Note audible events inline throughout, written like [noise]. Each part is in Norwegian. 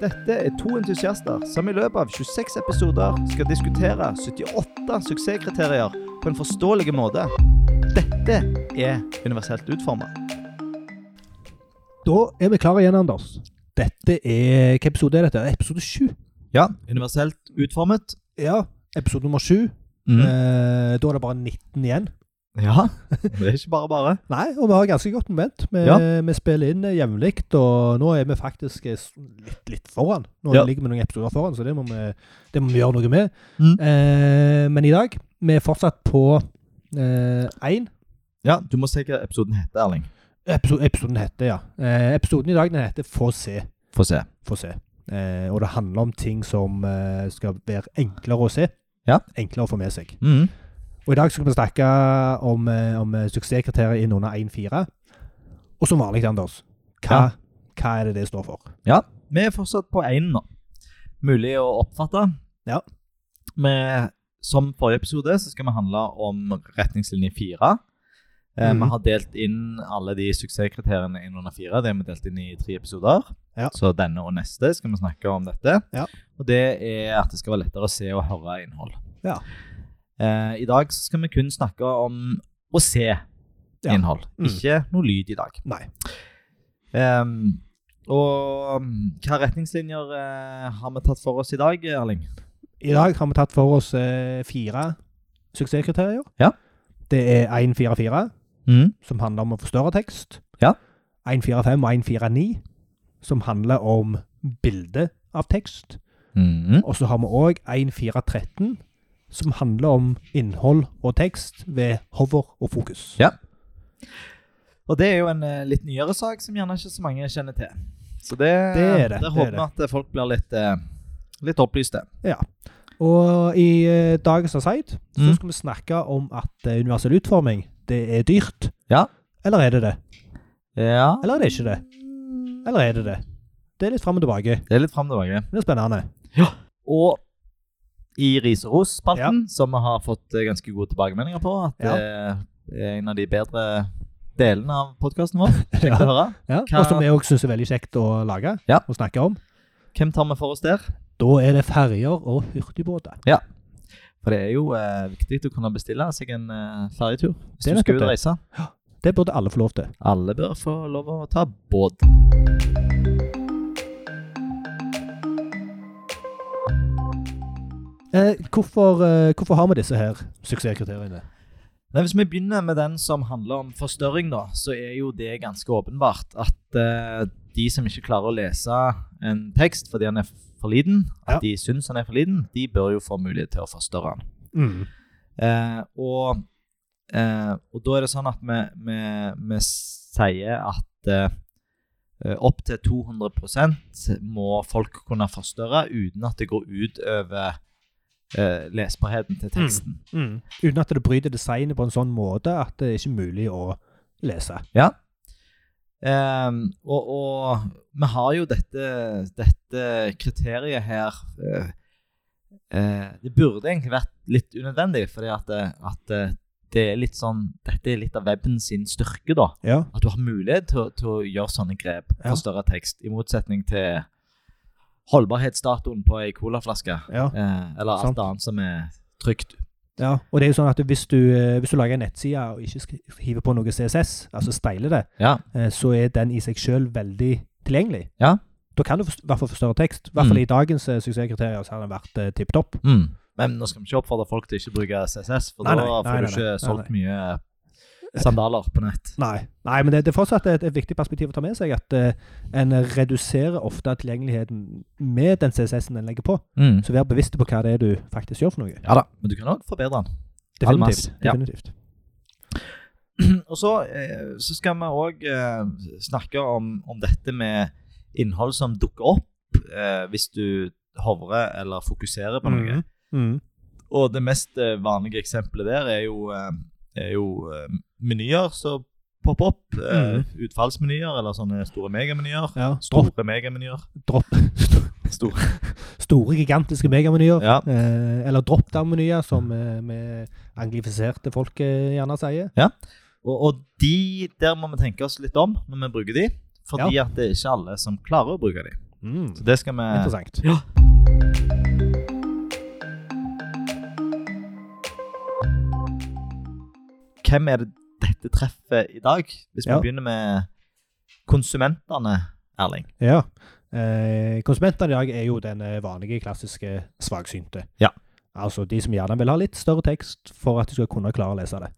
Dette er to entusiaster som i løpet av 26 episoder skal diskutere 78 suksesskriterier på en forståelig måte. Dette er universelt utforma. Da er vi klare igjen, Anders. Dette er Hvilken episode er dette? Episode sju? Ja, universelt utformet. Ja. Episode nummer sju. Mm. Eh, da er det bare 19 igjen. Ja, det er ikke bare bare. Nei, og vi har ganske godt moment. Vi, Ja. vi spiller inn eh, jevnlig, og nå er vi faktisk eh, s- litt, litt foran. Nå Ja. ligger vi noen episoder foran, så det må vi, det må vi gjøre noe med. Mm. Eh, men i dag Vi er fortsatt på eh, én. Ja, Du må se hva episoden heter, Erling. episoden heter, ja. Eh, episoden i dag den heter Få se. Få se. få se. Eh, og det handler om ting som eh, skal være enklere å se. Ja. Enklere å få med seg. Mm. Og i dag skal vi snakke om, eh, om eh, suksesskriteriet inn under 1-4. Og som vanlig, Anders, hva, Ja. hva er det det står for? Vi er fortsatt på én nå. Mulig å oppfatte. Ja. Vi- som forrige episode så skal vi handle om retningslinje fire. Eh, Mhm. Vi har delt inn alle de suksesskriteriene inn under fire. Det har vi delt inn i tre episoder. Ja. Så denne og neste skal vi snakke om dette. Ja. Og det er at det skal være lettere å se og høre innhold. Ja. Eh, I dag så skal vi kun snakke om å se Ja. innhold. Mm. Ikke noe lyd i dag. Nei. Ehm, og um, hva retningslinjer eh, har vi tatt for oss i dag, Erling? I dag har vi tatt for oss eh, fire suksesskriterier. Ja. Det er 1-4-4, som handler om å forstørre tekst. Ja. 1-4-5 og 1-4-9, som handler om bilde av tekst. Mm. Og så har vi òg 1413, som handler om innhold og tekst ved hover og fokus. Ja. Og det er jo en eh, litt nyere sak som gjerne ikke så mange kjenner til. Så det, Det er det, det der er håper det. vi at folk blir litt, eh, litt opplyste. Og i eh, dagens aside så Mm. skal vi snakke om at eh, universell utforming, det er dyrt. Ja. Eller er det det? Ja. Eller er det ikke det? Eller er det det? Det er litt fram og tilbake. Det er litt fram tilbake. Men det [laughs] er spennende. Og i Ris og ros-spalten, som vi har fått eh, ganske gode tilbakemeldinger på, at eh, Ja. det er en av de bedre delene av podkasten [laughs] vår. Kjekt å høre. Ja. Hva- Og som vi òg syns er veldig kjekt å lage Ja. og snakke om. Hvem tar vi for oss der? Da er det ferger og hurtigbåter. For det er jo eh, viktig å kunne bestille seg en eh, ferjetur hvis Det er du skal nettopp ut og det. reise. Det burde alle få lov til. Alle bør få lov å ta båt. Eh, hvorfor, eh, hvorfor har vi disse her suksesskriteriene? Nei, hvis vi begynner med den som handler om forstørring, da, så er jo det ganske åpenbart at eh, de som ikke klarer å lese en tekst fordi han er for liten, at Ja. de syns han er for liten, de bør jo få mulighet til å forstørre han. Mm. Eh, og, eh, og da er det sånn at vi, vi, vi sier at eh, opp til 200 må folk kunne forstørre uten at det går ut over eh, lesbarheten til teksten. Mm. Uten at det bryter designet på en sånn måte at det er ikke mulig å lese. Ehm, og, og vi har jo dette, dette kriteriet her eh, eh, Det burde egentlig vært litt unødvendig, fordi at, eh, at eh, det er litt sånn, dette er litt av webben sin styrke, da. Ja. at du har mulighet til, å- til å gjøre sånne grep Ja. for større tekst, i motsetning til holdbarhetsdatoen på ei colaflaske, ja. eh, eller Sant. alt annet som er trygt. Og det er jo sånn at hvis du, eh, hvis du lager en nettside og ikke sk- hiver på noe CSS, altså steiler det, Ja. eh, så er den i seg selv veldig tilgjengelig. Ja. Da kan du forst- i hvert fall forstørre tekst. I hvert fall Mm. i dagens eh, suksesskriterier så har den vært eh, tipp topp. Men nå skal vi ikke oppfordre folk til ikke å bruke CSS, for Nei, da nei, får nei, du nei, ikke nei, solgt mye sandaler på nett. Nei. Nei, men det, det er fortsatt et, et viktig perspektiv å ta med seg, at eh, en reduserer ofte tilgjengeligheten med den CSS-en en legger på. Så vær bevisst på hva det er du faktisk gjør for noe. Mm. Ja da, men du kan òg forbedre den. All mass. Definitivt. Ja. Definitivt. [clears throat] Og så, eh, så skal vi òg eh, snakke om, om dette med innhold som dukker opp eh, hvis du hovrer eller fokuserer på noe. Mhm. Mhm. Mm. Og det mest eh, vanlige eksempelet der er jo, eh, er jo eh, menyer som popper opp. eh, Utfallsmenyer eller sånne store megamenyer. Mm. Ja. Store megamenyer. Dropp. [laughs] Store. Store, gigantiske megamenyer. [laughs] Ja. Eh, eller drop-down-menyer, som eh, vi anglifiserte folk eh, gjerne sier. Og, og de der må vi tenke oss litt om når vi bruker de, fordi at det er ikke alle som klarer å bruke de. Mm. Så det skal vi Interessant. Hvem er det dette treffer i dag? Hvis vi Ja. begynner med konsumentene, Erling. Ja. Eh, konsumentene i dag er jo den eh, vanlige, klassiske svaksynte. Ja. Altså de som gjerne vil ha litt større tekst for at de skal kunne klare å lese det.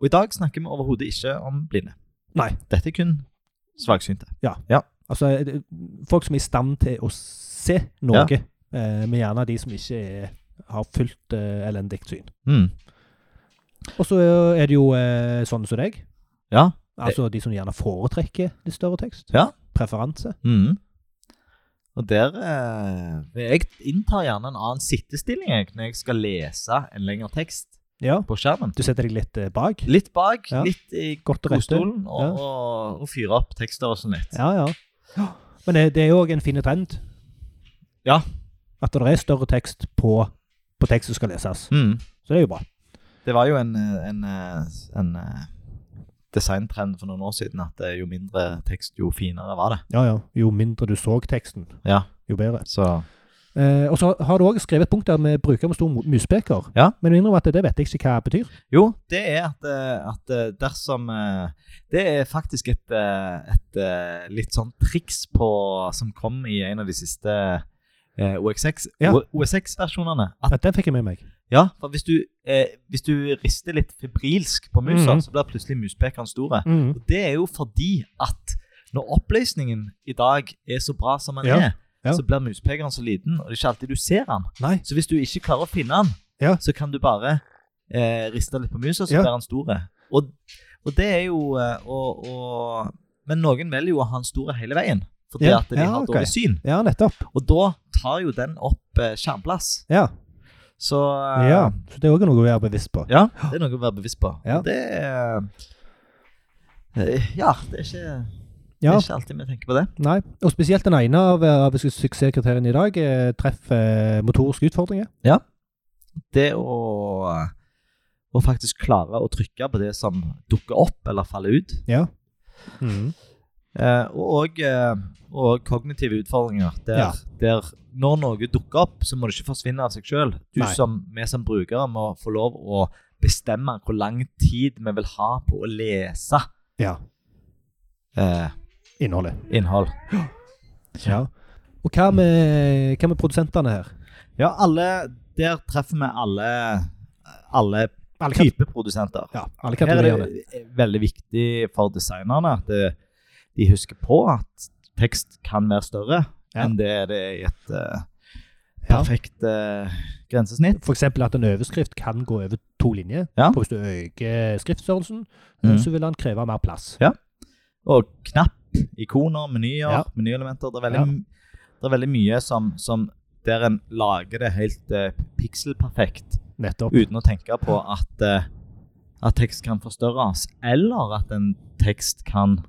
Og i dag snakker vi overhodet ikke om blinde. Nei. Dette er kun svaksynte. Altså eh, det- folk som er i stand til å se noe, eh, men gjerne de som ikke er, har fullt eh, elendig syn. Mm. Og så er det jo eh, sånne som deg. Ja. Altså de som gjerne foretrekker litt større tekst. Ja. Preferanse. Mm. Og der eh, Jeg inntar gjerne en annen sittestilling jeg, når jeg skal lese en lengre tekst Ja. på skjermen. Du setter deg litt eh, bak. Litt bak, Ja. litt i Godt og rette. godstolen, og, Ja. og, og fyre opp tekststørrelsen litt. Ja, ja. Men det, det er jo òg en fin trend. Ja. At det er større tekst på, på tekst som skal leses. Mm. Så det er jo bra. Det var jo en, en, en designtrend for noen år siden at jo mindre tekst, jo finere var det. Ja, ja. Jo mindre du så teksten, Ja, jo bedre. så Eh, og så har du òg skrevet et punkt der vi bruker med stor mu- muspeker. Ja. Men jeg innrømmer at det vet jeg ikke hva det betyr. Jo, det er at, eh, at eh, dersom eh, Det er faktisk et, eh, et eh, litt sånn triks på, som kom i en av de siste eh, OSX Ja. O- OSX-versjonene. At- Ja, den fikk jeg med meg. Ja, for hvis du, eh, hvis du rister litt febrilsk på musa, Mhm. så blir plutselig muspekeren store. Mm. Og det er jo fordi at når oppløsningen i dag er så bra som den Ja, er, ja. så blir muspekeren så liten, og det er ikke alltid du ser den. Nei. Så hvis du ikke klarer å finne den, Ja. så kan du bare eh, riste litt på musa, så Ja. blir den stor. Og, og det er jo eh, og, og, Men noen velger jo å ha den store hele veien, fordi Ja, at de ja, har ok. dårlig syn. Ja, nettopp. Og da tar jo den opp eh, skjermplass. Ja. Så eh, ja. Så det er òg noe å være bevisst på. ja, det er noe å være bevisst på. Ja. Og Det er eh, Ja, det er ikke Ja, Det er ikke alltid vi tenker på det. Nei. Og spesielt den ene av, eh, av su- suksesskriteriene i dag eh, treffer motoriske utfordringer. Det å, å faktisk klare å trykke på det som dukker opp eller faller ut. Ja. Eh, og, og, eh, og kognitive utfordringer. Der, Ja. der når noe dukker opp, så må det ikke forsvinne av seg sjøl. Nei. Vi som brukere må få lov å bestemme hvor lang tid vi vil ha på å lese ja. eh, Innholdet. innhold. Ja. Og hva med, hva med produsentene her? Ja, alle Der treffer vi alle, alle Alle kat- typeprodusenter. ja, Her alle er kategoriene. det veldig viktig for designerne at eh, de husker på at tekst kan være større Ja. enn det det er i et eh, Ja. perfekt eh, grensesnitt. For eksempel at en overskrift kan gå over to linjer. Ja. Og Hvis du øker skriftstørrelsen, Mhm. så vil den kreve mer plass. Og knapp, ikoner, menyer, Ja. menyelementer. Det er veldig, det er veldig mye som, som der en lager det helt eh, pikselperfekt Nettopp. uten å tenke på at, eh, at tekst kan forstørres, eller at en tekst kan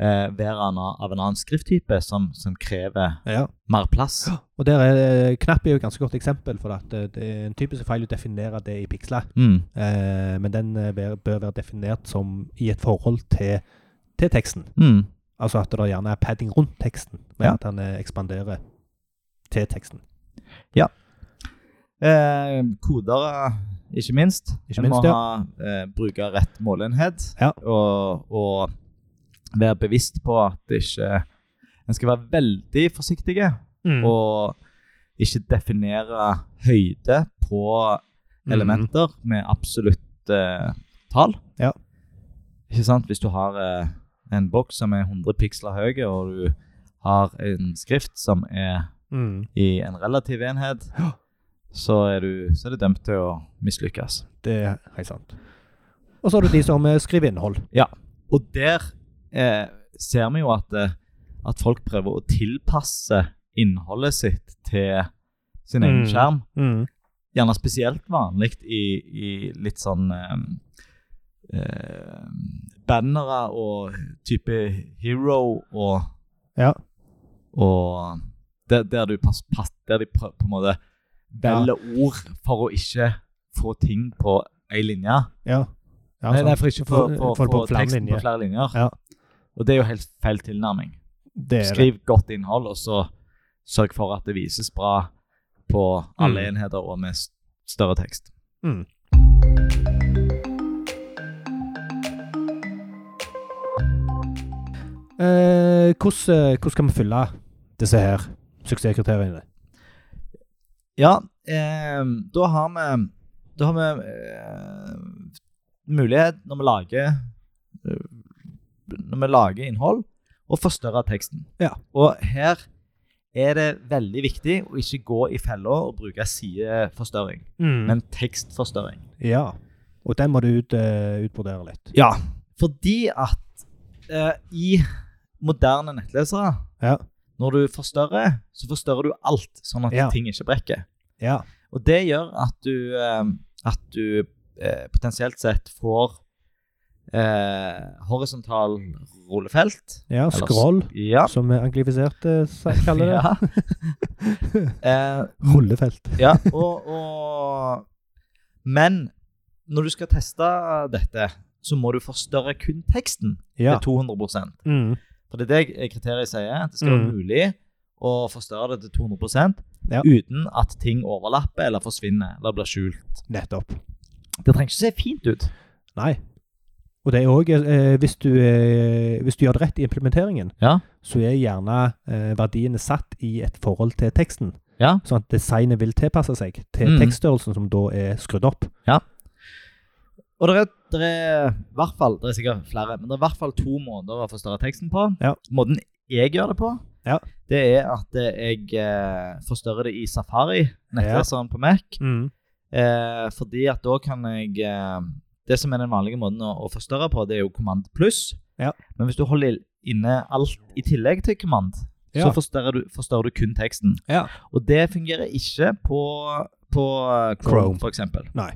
eh, være en a- av en annen skrifttype som, som krever Ja. mer plass. Og der er eh, knapp er jo et ganske godt eksempel, for at eh, det er en typisk feil å definere det i piksler. Mm. Eh, men den eh, bør, bør være definert som i et forhold til, til teksten. Mm. Altså at det gjerne er padding rundt teksten, men Ja. at den eh, ekspanderer til teksten. Eh, koder, ikke minst. Ikke En minst, må ja. ha, eh, bruke rett målenhet Ja. og, og være bevisst på at det ikke En skal være veldig forsiktig Og og ikke definere høyde på Mm. elementer med absolutt eh, tall. Ja. Ikke sant? Hvis du har eh, en boks som er 100 piksler høy, og du har en skrift som er Mm. i en relativ enhet, så er, du, så er det dømt til å mislykkes. Det er helt sant. Og så har du de som eh, skriver innhold. Og der eh, ser vi jo at, eh, at folk prøver å tilpasse innholdet sitt til sin egen Mm. skjerm. Gjerne spesielt vanlig i, i litt sånn eh, eh, bannere og type hero og Ja. Og der, der du pass, pass, der de prøver på en måte velger ord for å ikke få ting på ei linje. Ja. ja nei, sant. nei, for ikke å få- få Få- få det på få flere teksten linjer. på flere linjer. Ja. Og det er jo helt feil tilnærming. Det er det. Skriv godt innhold, og så sørg for at det vises bra på alle Mm. enheter og med s- større tekst. Mm. Eh, hvordan, eh, hvordan kan vi fylle disse her suksesskriteriene? Ja, eh, da har vi Da har vi eh, mulighet, når vi lager eh, Når vi lager innhold, å forstørre teksten. Ja. Og her er det veldig viktig å ikke gå i fella og bruke sideforstørring, Men, men tekstforstørring. ja. Og den må du ut, eh, utbrodere litt. Ja, fordi at eh, i moderne nettlesere, Ja. når du forstørrer, så forstørrer du alt, sånn at Ja. ting ikke brekker. Ja. Og det gjør at du, eh, at du eh, potensielt sett får eh, horisontal rullefelt. ja Eller s- scroll, Ja. som vi [laughs] anglifiserte sa- kaller det. Ja. [laughs] Eh, Rullefelt. ja, og, og Men når du skal teste dette, så må du forstørre kun teksten Ja. til 200 Mm. For det er det kriteriet sier, at det skal være Mm. mulig å forstørre det til 200 Ja. uten at ting overlapper eller forsvinner eller blir skjult. Nettopp. Det trenger ikke se fint ut. Nei. Og det er òg, eh, hvis, du, eh, hvis du gjør det rett i implementeringen, Ja. så er gjerne eh, verdiene satt i et forhold til teksten. Ja. Sånn at designet vil tilpasse seg til Mm. tekststørrelsen som da er skrudd opp. Og det er, det er i hvert fall, det er sikkert flere, men det er i hvert fall to måter å forstørre teksten på. Ja. Måten jeg gjør det på, Ja. det er at eh, jeg eh, forstørrer det i Safari, nettleseren på Mac, eh, fordi at da kan jeg eh, Det som er den vanlige måten å, å forstørre på, det er jo kommand pluss. Ja. Men hvis du holder inne alt i tillegg til kommand, Ja. så forstørrer du, forstørrer du kun teksten. Ja. Og det fungerer ikke på, på eh, Chrome. Chrome, for eksempel. Nei.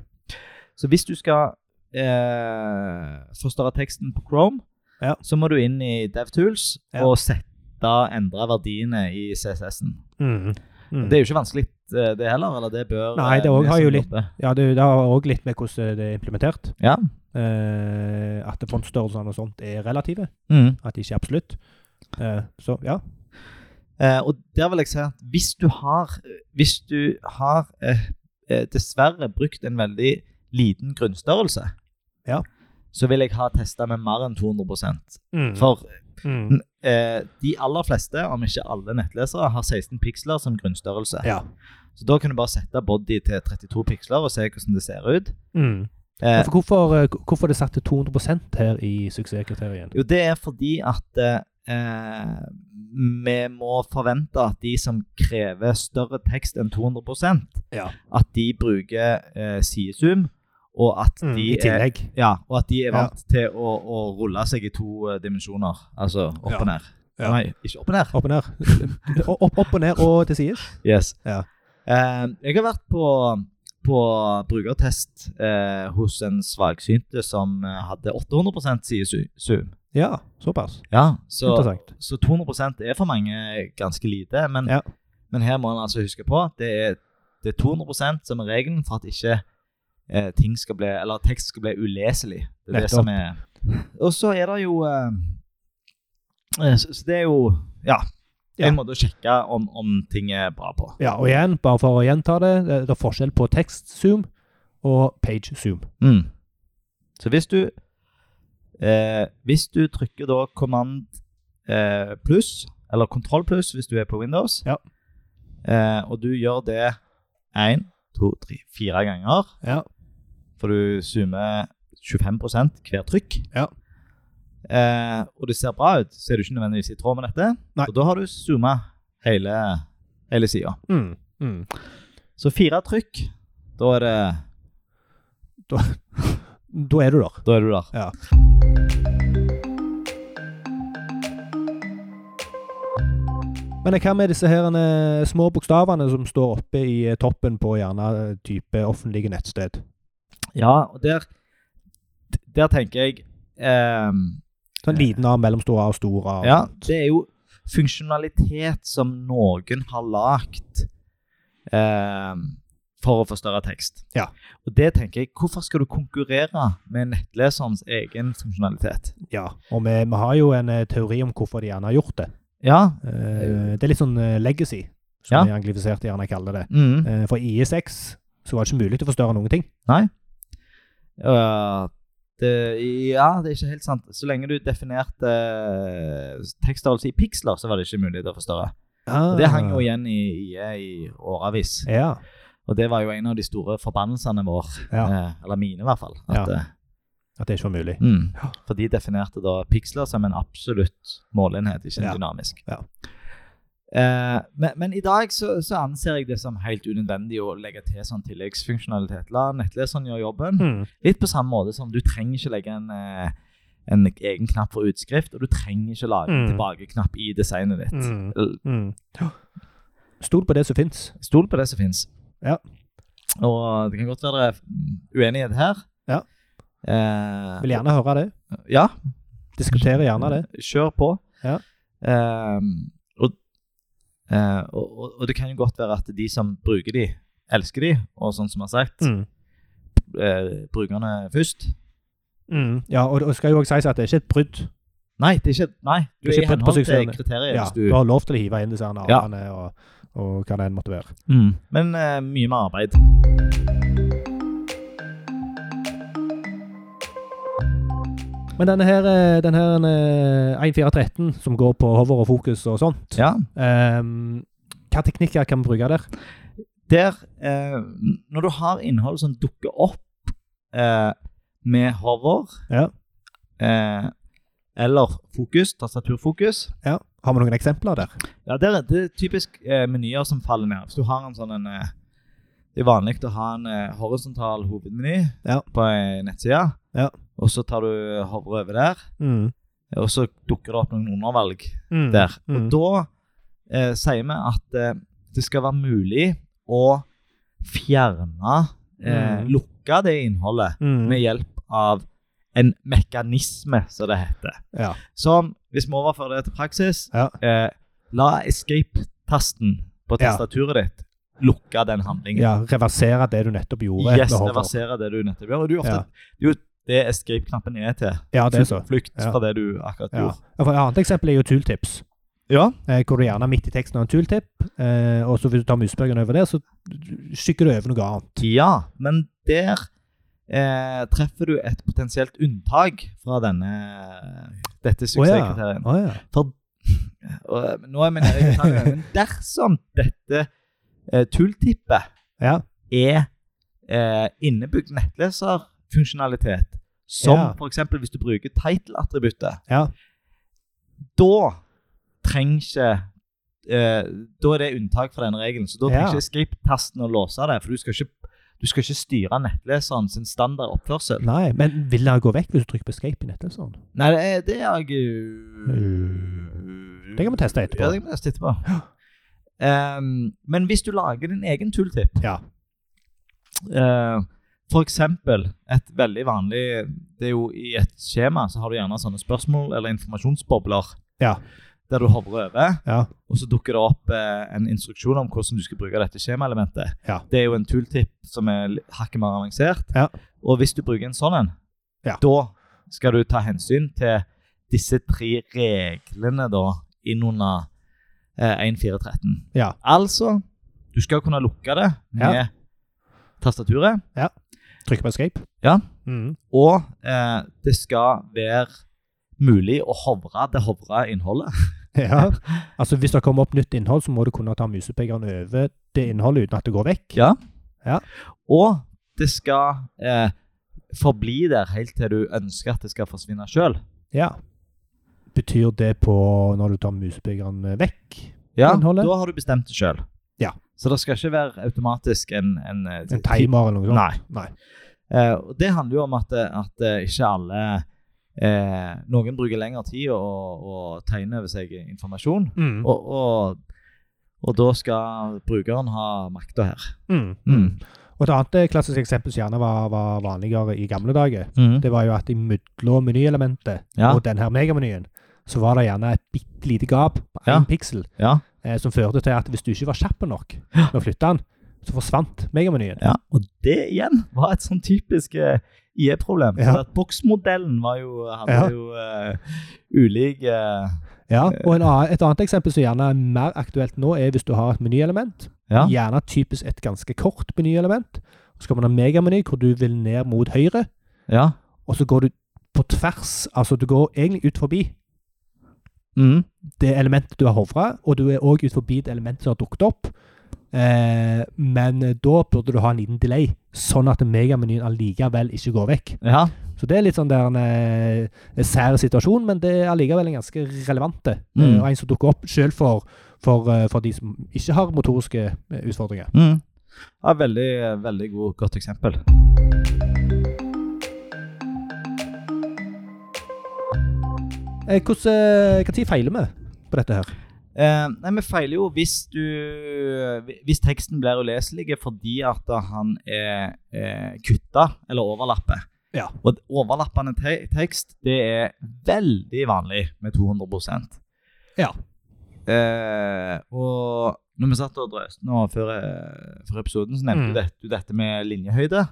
Så hvis du skal eh, forstørre teksten på Chrome, Ja. så må du inn i DevTools Ja. og sette, endre verdiene i CSS-en. Mm. Mm. Det er jo ikke vanskelig eh, det heller, eller det bør Nei, det eh, òg vi har som jo litt- jobber. Ja, det, det har òg litt med hvordan det er implementert. Ja. Eh, at fontstørrelsene og sånt er relative. Mm. At de ikke er absolutt. Eh, så ja. Eh, og der vil jeg si at hvis du har, hvis du har eh, eh, dessverre brukt en veldig liten grunnstørrelse, Ja. så vil jeg ha testa med mer enn 200 Mm. For Mm. eh, de aller fleste, om ikke alle nettlesere, har 16 piksler som grunnstørrelse. Ja. Så da kan du bare sette body til 32 piksler og se hvordan det ser ut. Mm. Eh, Ja, for hvorfor, eh, hvorfor er det satt til 200 her i suksesskriterien? jo, det er fordi at eh, eh, vi må forvente at de som krever større tekst enn 200 Ja. at de bruker eh, sidezoom, og at Mm, de I er tillegg. ja, og at de er Ja. vant til å, å rulle seg i to eh, dimensjoner. Altså opp Ja. og ned. Ja. Nei, ikke opp og ned. Opp og ned. [laughs] O- Opp, opp og ned og til sides. Yes. Ja. Eh, jeg har vært på, på brukertest eh, hos en svaksynte som eh, hadde 800 sidezoom. Ja, såpass. Ja, så, Interessant. så 200 er for mange ganske lite, men, Ja. men her må en altså huske på at det er, det er 200 som er regelen for at ikke eh, ting skal bli, eller tekst skal bli uleselig. Det er det Nettopp. som er Og så er det jo eh, eh, så, så det er jo Ja. Ja. En måte å sjekke om, om ting er bra på. Ja, og igjen, bare for å gjenta det, det det er forskjell på tekstzoom og pagezoom. Mm. Så hvis du eh, Hvis du trykker da command eh, pluss, eller kontroll pluss hvis du er på Windows, Ja. eh, og du gjør det én, to, tre, fire ganger, Ja. for du zoomer 25 hver trykk, Ja. eh, og det ser bra ut, så er du ikke nødvendigvis i tråd med dette. Nei. Og da har du zooma hele, hele sida. Mm. Mm. Så fire trykk, da er, det, Da er du der. da er du der. Ja. Men hva med disse her eh, små bokstavene som står oppe i eh, toppen på gjerne eh, type offentlige nettsted? Ja, og der, der tenker jeg ehm, Sånn liten A, mellomstor A og stor A. Ja, det er jo funksjonalitet som noen har lagd ehm, for å forstørre tekst. Ja. Og det tenker jeg, hvorfor skal du konkurrere med nettleserens egen funksjonalitet? Ja, og vi, vi har jo en eh, teori om hvorfor de gjerne har gjort det. Ja. Eh, det er litt sånn eh, legacy, som Ja. de anglifiserte gjerne kaller det. Mm. Eh, for i ISX så var det ikke mulig til å forstørre noen ting. Øh, det, ja, det er ikke helt sant. Så lenge du definerte eh, tekststørrelse i piksler, så var det ikke mulig til å forstørre. Og det Ah. hang jo igjen i IE i årevis. Ja. Og det var jo en av de store forbannelsene våre, Ja. eh, eller mine i hvert fall. At, Ja. eh, At det ikke var mulig. Mm. Ja. For de definerte da piksler som en absolutt målenhet, ikke en Ja. dynamisk. Ja. Eh, men, men i dag så, så anser jeg det som helt unødvendig å legge til sånn tilleggsfunksjonalitet. La nettleseren gjøre jobben. Mm. Litt på samme måte som du trenger ikke legge en, eh, en egen knapp for utskrift, og du trenger ikke lage en Mm. tilbakeknapp i designet ditt. Mm. L- Mm. Stol på det som fins. Stol på det som fins. Ja. Og det kan godt være det er uenighet her. Ja. Eh, Vil gjerne høre det. Ja, Diskutere gjerne det. Kjør på. Ja. Ehm, og, eh, og, og, og det kan jo godt være at de som bruker de, elsker de, og sånn som jeg har sagt, Mm. eh, brukerne først. Mm. Ja, og det og skal jo også sies at det er ikke et brudd. Nei, det er ikke, nei, du Det er er ikke i brudd på henhold til suksessen. kriteriet. Ja, hvis du du, har lov til å hive inn disse her Ja. armene og, og hva det enn måtte være. mm. Men eh, mye mer arbeid. Men denne her, eh, denne her eh, 1413 som går på hover og fokus og sånt, Ja. ehm, hva teknikker kan vi bruke der? Der, eh, når du har innhold som dukker opp eh, med hover, Ja. eh, eller fokus, tastaturfokus, Ja. Har vi noen eksempler der? Ja, det er, det er typisk eh, menyer som faller ned. Hvis du har en sånn en, eh, Det er vanlig å ha en eh, horisontal hovedmeny Ja. på ei nettside. Ja. Og så tar du hover over der, Mm. og så dukker det opp noen undervalg Mm. der. Mm. Og da eh, sier vi at eh, det skal være mulig å fjerne eh, Mm. Lukke det innholdet Mm. med hjelp av en mekanisme, som det heter. Ja. Som, hvis vi overfører det til praksis Ja. eh, La escape-tasten på Ja. tastaturet ditt lukke den handlingen. ja. Reversere det du nettopp gjorde. yes, med hover. reversere det du nettopp gjør. Og du ofte, Ja. det er jo det escape-knappen er til. Ja, det er så. Flukt Ja. fra det du akkurat Ja. gjorde. Ja, for Et annet eksempel er jo tooltips. Ja. Eh, hvor du gjerne midt i teksten har en tooltip, eh, og så hvis du tar musebøkene over der, så skykker du over noe annet. ja, men der eh, treffer du et potensielt unntak fra denne, dette Å ja. suksesskriteriet. Å ja. Og, eh, Nå er vi nede i detaljene. Men dersom dette eh, tooltippet ja. er eh, innebygd nettleserfunksjonalitet. Som Ja. for f.eks. hvis du bruker title-attributtet. Ja. Da trenger ikke eh, Da er det unntak fra denne regelen. Så da Ja. trenger ikke escape-tasten å låse det. For du skal ikke, du skal ikke styre nettleseren sin standard oppførsel. Nei, men vil den gå vekk hvis du trykker på escape i sånn? nettleseren? Nei, det er, det er jeg Mm. øh, Det kan vi teste etterpå. Ja, det kan vi teste etterpå. Ehm, men hvis du lager din egen tooltip Ja. Eh, for eksempel et veldig vanlig Det er jo i et skjema så har du gjerne sånne spørsmål eller informasjonsbobler. Ja. Der du hovrer over, Ja. og så dukker det opp eh, en instruksjon om hvordan du skal bruke dette skjemaelementet. Ja. Det er jo en tooltip som er li- hakket mer avansert. Ja. Og hvis du bruker en sånn en, Ja. da skal du ta hensyn til disse tre reglene da innunder eh, 1413. Ja. Altså, du skal kunne lukke det med Ja. tastaturet. Trykker på escape? Ja. Mm. Og eh, det skal være mulig å hovre det hovra innholdet. [laughs] ja. Altså, hvis det kommer opp nytt innhold, så må du kunne ta musepekeren over det innholdet uten at det går vekk. Ja. Ja. Og det skal eh, forbli der helt til du ønsker at det skal forsvinne sjøl. Ja. Betyr det på når du tar musepekeren vekk? Ja, Innholdet? da har du bestemt det sjøl. Ja. Så det skal ikke være automatisk en, en, eh, En timer eller noe sånt? Nei. Eh, og det handler jo om at, at eh, ikke alle eh, Noen bruker lengre tid å, å tegne over seg informasjon. Mm. Og, og, og da skal brukeren ha makta her. Mm. Og Et annet eh, klassisk eksempel som gjerne var, var vanligere i gamle dager, Mhm. det var jo at imellom menyelementet Ja. og denne megamenyen, så var det gjerne et bitte lite gap på én Ja. piksel, Ja. eh, som førte til at hvis du ikke var kjapp nok med å flytte den, så forsvant megamenyen. Ja, og det igjen var et sånn typisk eh, IE-problem. Ja. For at Boksmodellen var jo, hadde Ja. jo eh, ulik eh, Ja, og en annen, Et annet eksempel som gjerne er mer aktuelt nå, er hvis du har et menyelement. Ja. Gjerne typisk et ganske kort menyelement. Så kan man ha megameny hvor du vil ned mot høyre, ja. og så går du på tvers. Altså du går egentlig ut forbi Mm. det elementet du har hovra, og du er òg ut forbi det elementet som har dukket opp. Eh, men da burde du ha en liten delay, sånn at megamenyen allikevel ikke går vekk. ja. Så det er litt sånn der en eh, sær situasjon, men det er allikevel en ganske relevant eh, Mm. og en som dukker opp sjøl for, for, eh, for de som ikke har motoriske eh, utfordringer. Mm. Ja, veldig, veldig god, godt eksempel. Eh, hvordan, eh, hva tid feiler vi på dette her? Eh, nei, vi feiler jo hvis du Hvis teksten blir uleselig fordi at han er, er kutta eller overlapper. Ja. Og overlappende te tekst, det er veldig vanlig med 200 Ja. Eh, og når vi satt og drøste nå før, eh, før episoden, så nevnte Mm. du det- du dette med linjehøyde.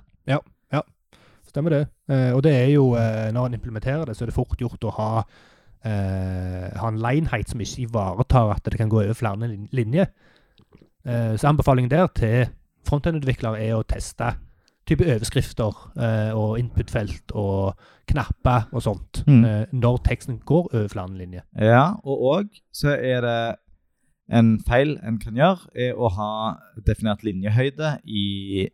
Stemmer det. Eh, og det er jo, eh, når en implementerer det, så er det fort gjort å ha, eh, ha en line height som ikke ivaretar at det kan gå over flere lin- linjer. Eh, så anbefalingen der til frontend-utviklere er å teste type overskrifter eh, og input-felt og knapper og sånt Mm. eh, når teksten går over flere linjer. Ja, og òg så er det en feil en kan gjøre, er å ha definert linjehøyde i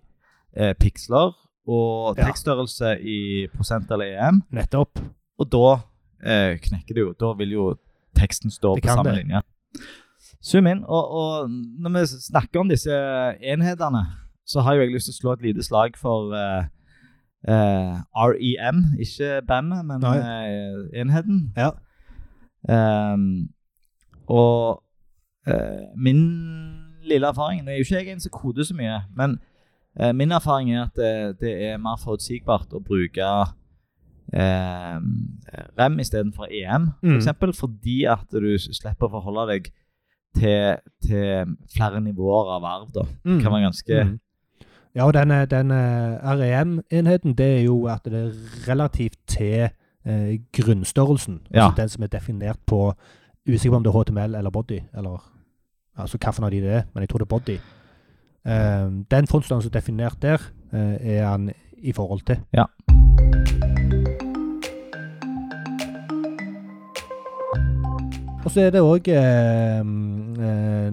eh, piksler og Ja. tekststørrelse i prosent eller EM, Nettopp. og da eh, knekker det jo. Da vil jo teksten stå Det på kan samme det. linje. Zoom inn, og, og når vi snakker om disse enhetene, så har jo jeg lyst til å slå et lite slag for eh, eh, REM, ikke bandet, men Nei. eh, enheten. Ja. Ehm, og eh, min lille erfaring Nå er jo ikke jeg en som koder så mye, men eh, min erfaring er at det, det er mer forutsigbart å bruke eh, rem istedenfor EM, Mm. f.eks., eksempel fordi at du slipper å forholde deg til, til flere nivåer av arv. da. Det Mm. kan være ganske Mm. Ja, og den, eh, den eh, REM-enheten, det er jo at det er relativt til eh, grunnstørrelsen. Ja. Altså den som er definert på Usikker på om det er HTML eller body, eller altså hvilken av de det er, men jeg tror det er body. Ehm, den frontstørrelsen som er definert der, eh, er han i forhold til. Ja. Og så er det òg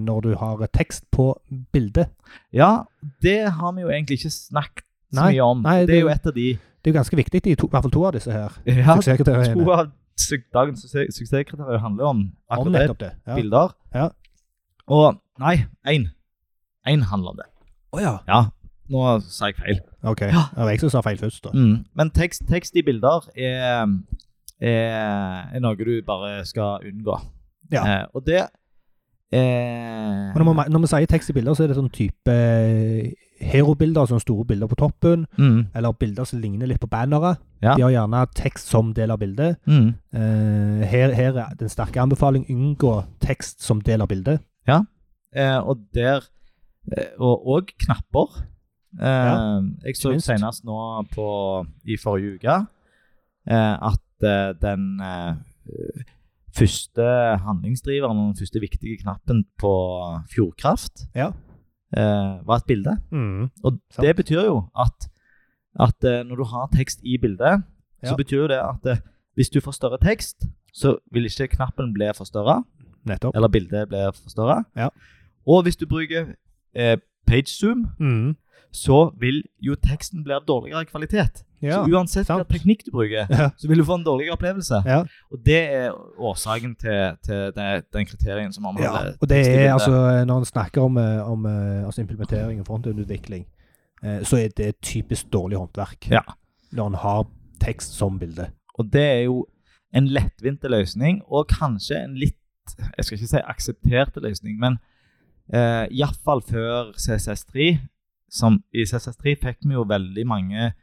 når du har tekst på bildet. Ja, det har vi jo egentlig ikke snakket så Nei, mye om. nei, det det- er jo et av de Det er jo ganske viktig, i, to, i hvert fall to av disse her. ja, Suksesskriteriene. [laughs] To av su- dagens suksess- suksesskriterier handler om Om akkurat det. nettopp det. Ja. Bilder. Ja. Og nei, én. Én handler om det. Å ja. Ja, nå sa jeg feil. Ok. Ja. Det var jeg som sa feil først, da. Mm. Men tekst, tekst i bilder er, er, er noe du bare skal unngå. Ja. Eh, og det eh, Men når, man, når vi sier tekst i bilder, så er det sånn type eh, herobilder, sånne store bilder på toppen, mm, eller bilder som ligner litt på bannere. Ja. De har gjerne tekst som del av bildet. mm. Eh, her, her er den sterke anbefaling unngå tekst som del av bildet. Eh, og der eh, Og, og knapper. Eh, Ja, jeg så minst. senest nå på, i forrige uke eh, at eh, den eh, første handlingsdriveren, den første viktige knappen på Fjordkraft, Ja. eh, var et bilde. Mm. Og Sant. det betyr jo at, at eh, når du har tekst i bildet, Ja. så betyr jo det at eh, hvis du forstørrer tekst, så vil ikke knappen bli forstørra Nettopp. eller bildet blir forstørra. Ja. Og hvis du bruker eh, pagezoom, Mm. så vil jo teksten bli av dårligere kvalitet. Ja. så uansett hvilken sant. teknikk du bruker, Ja. så vil du få en dårligere opplevelse. Ja. Og det er årsaken til, til det, den kriterien som omhandler Ja, og det tekst i er bildet. altså Når en snakker om, eh, om eh, altså implementering og frontendutvikling, eh, så er det typisk dårlig håndverk. Ja. Når en har tekst som bilde. Og det er jo en lettvinte løsning, og kanskje en litt Jeg skal ikke si akseptert løsning, men eh, iallfall før CSS3. Som I CSS3 fikk vi jo veldig mange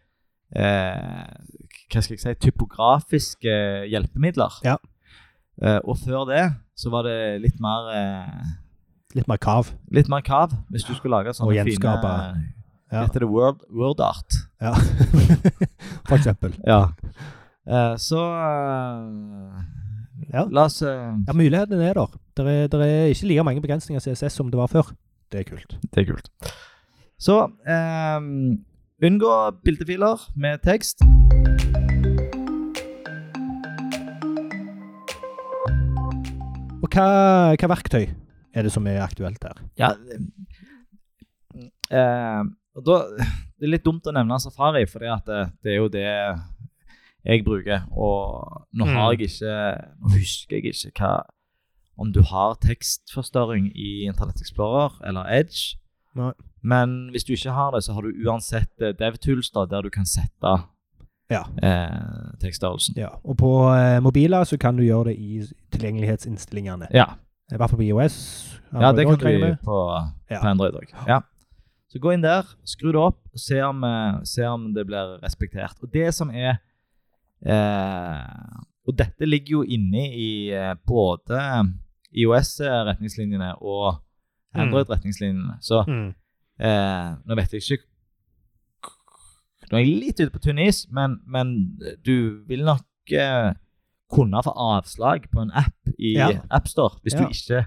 eh, Hva skal jeg si typografiske hjelpemidler. Ja. Eh, og før det så var det litt mer eh, Litt mer kav. Litt mer kav hvis du skulle lage sånne Og fine gjenskape. Ja. Heter det word, word art? Ja. [laughs] For eksempel. Ja. Eh, så eh, Ja. La oss eh, Ja, muligheten er der. Det er, der er ikke like mange begrensninger i CSS som det var før. Det er kult. Det er kult. Så ehm, unngå bildefiler med tekst. Og hva, hva verktøy er det som er aktuelt her? Ja eh, og da, Det er litt dumt å nevne safari, for det, det er jo det jeg bruker. Og nå har Mm. jeg ikke Nå husker jeg ikke hva om du har tekstforstørring i Internett Explorer eller Edge. Nei. Men hvis du ikke har det, så har du uansett eh, DevTools da, der du kan sette Ja. eh, tekststørrelsen. Ja, og på eh, mobiler så kan du gjøre det i tilgjengelighetsinnstillingene. Ja. I hvert fall på IOS. Ja, det kan Android, regner jeg du med. på, Ja. på Android òg. Ja. Så gå inn der, skru det opp, og se om, eh, se om det blir respektert. Og det som er eh, Og dette ligger jo inne i eh, både IOS-retningslinjene eh, og Android-retningslinjene. Så Mm. eh, nå vet jeg ikke Nå er jeg litt ute på tynn is, men, men du vil nok eh, kunne få avslag på en app i Ja. AppStore hvis Ja. du ikke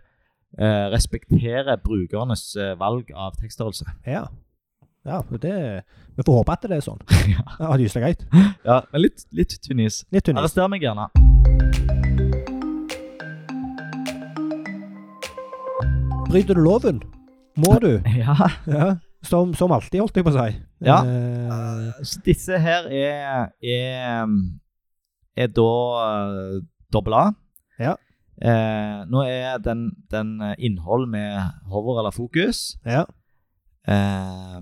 eh, respekterer brukernes eh, valg av tekststørrelse. Ja. ja og det, vi får håpe at det er sånn. [laughs] Ja. Ja, det er så greit. Ja, men litt, litt tynn is. Litt tynn is. Arrester meg gjerne. Bryter du loven? Må du? Ja. [laughs] Ja. Som, som alltid, holdt jeg på å si. Ja. Eh, Så disse her er, er, er da eh, dobbel A. Ja. Eh, nå er den, den eh, innhold med hover eller fokus. ja. Eh,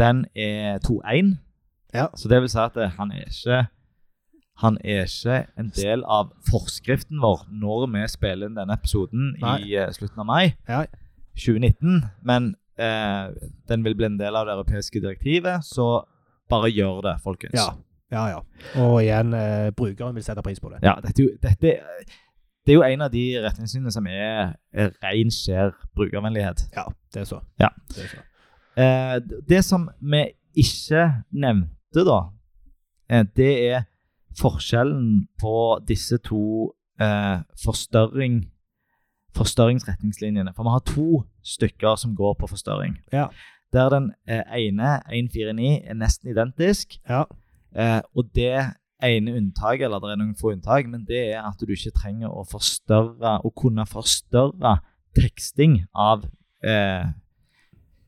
den er 2-1. Ja. Så det vil si at eh, han er ikke han er ikke en del av forskriften vår når vi spiller inn denne episoden i eh, slutten av mai Ja. 2019. Men eh, den vil bli en del av det europeiske direktivet, så bare gjør det, folkens. Ja. ja, ja. Og igjen, eh, brukeren vil sette pris på det. Ja, dette, er jo- dette er- det er jo en av de retningslinjene som er, er ren, skjær brukervennlighet. Ja, det er så. Ja. Det er så. Eh, det som vi ikke nevnte, da, eh, det er forskjellen på disse to eh, forstørring, forstørringsretningslinjene. For vi har to stykker som går på forstørring. Ja. Der den eh, ene, 149, er nesten identisk. Ja. Eh, og det ene unntaket, eller det er noen få unntak, men det er at du ikke trenger å forstørre, å kunne forstørre teksting av eh,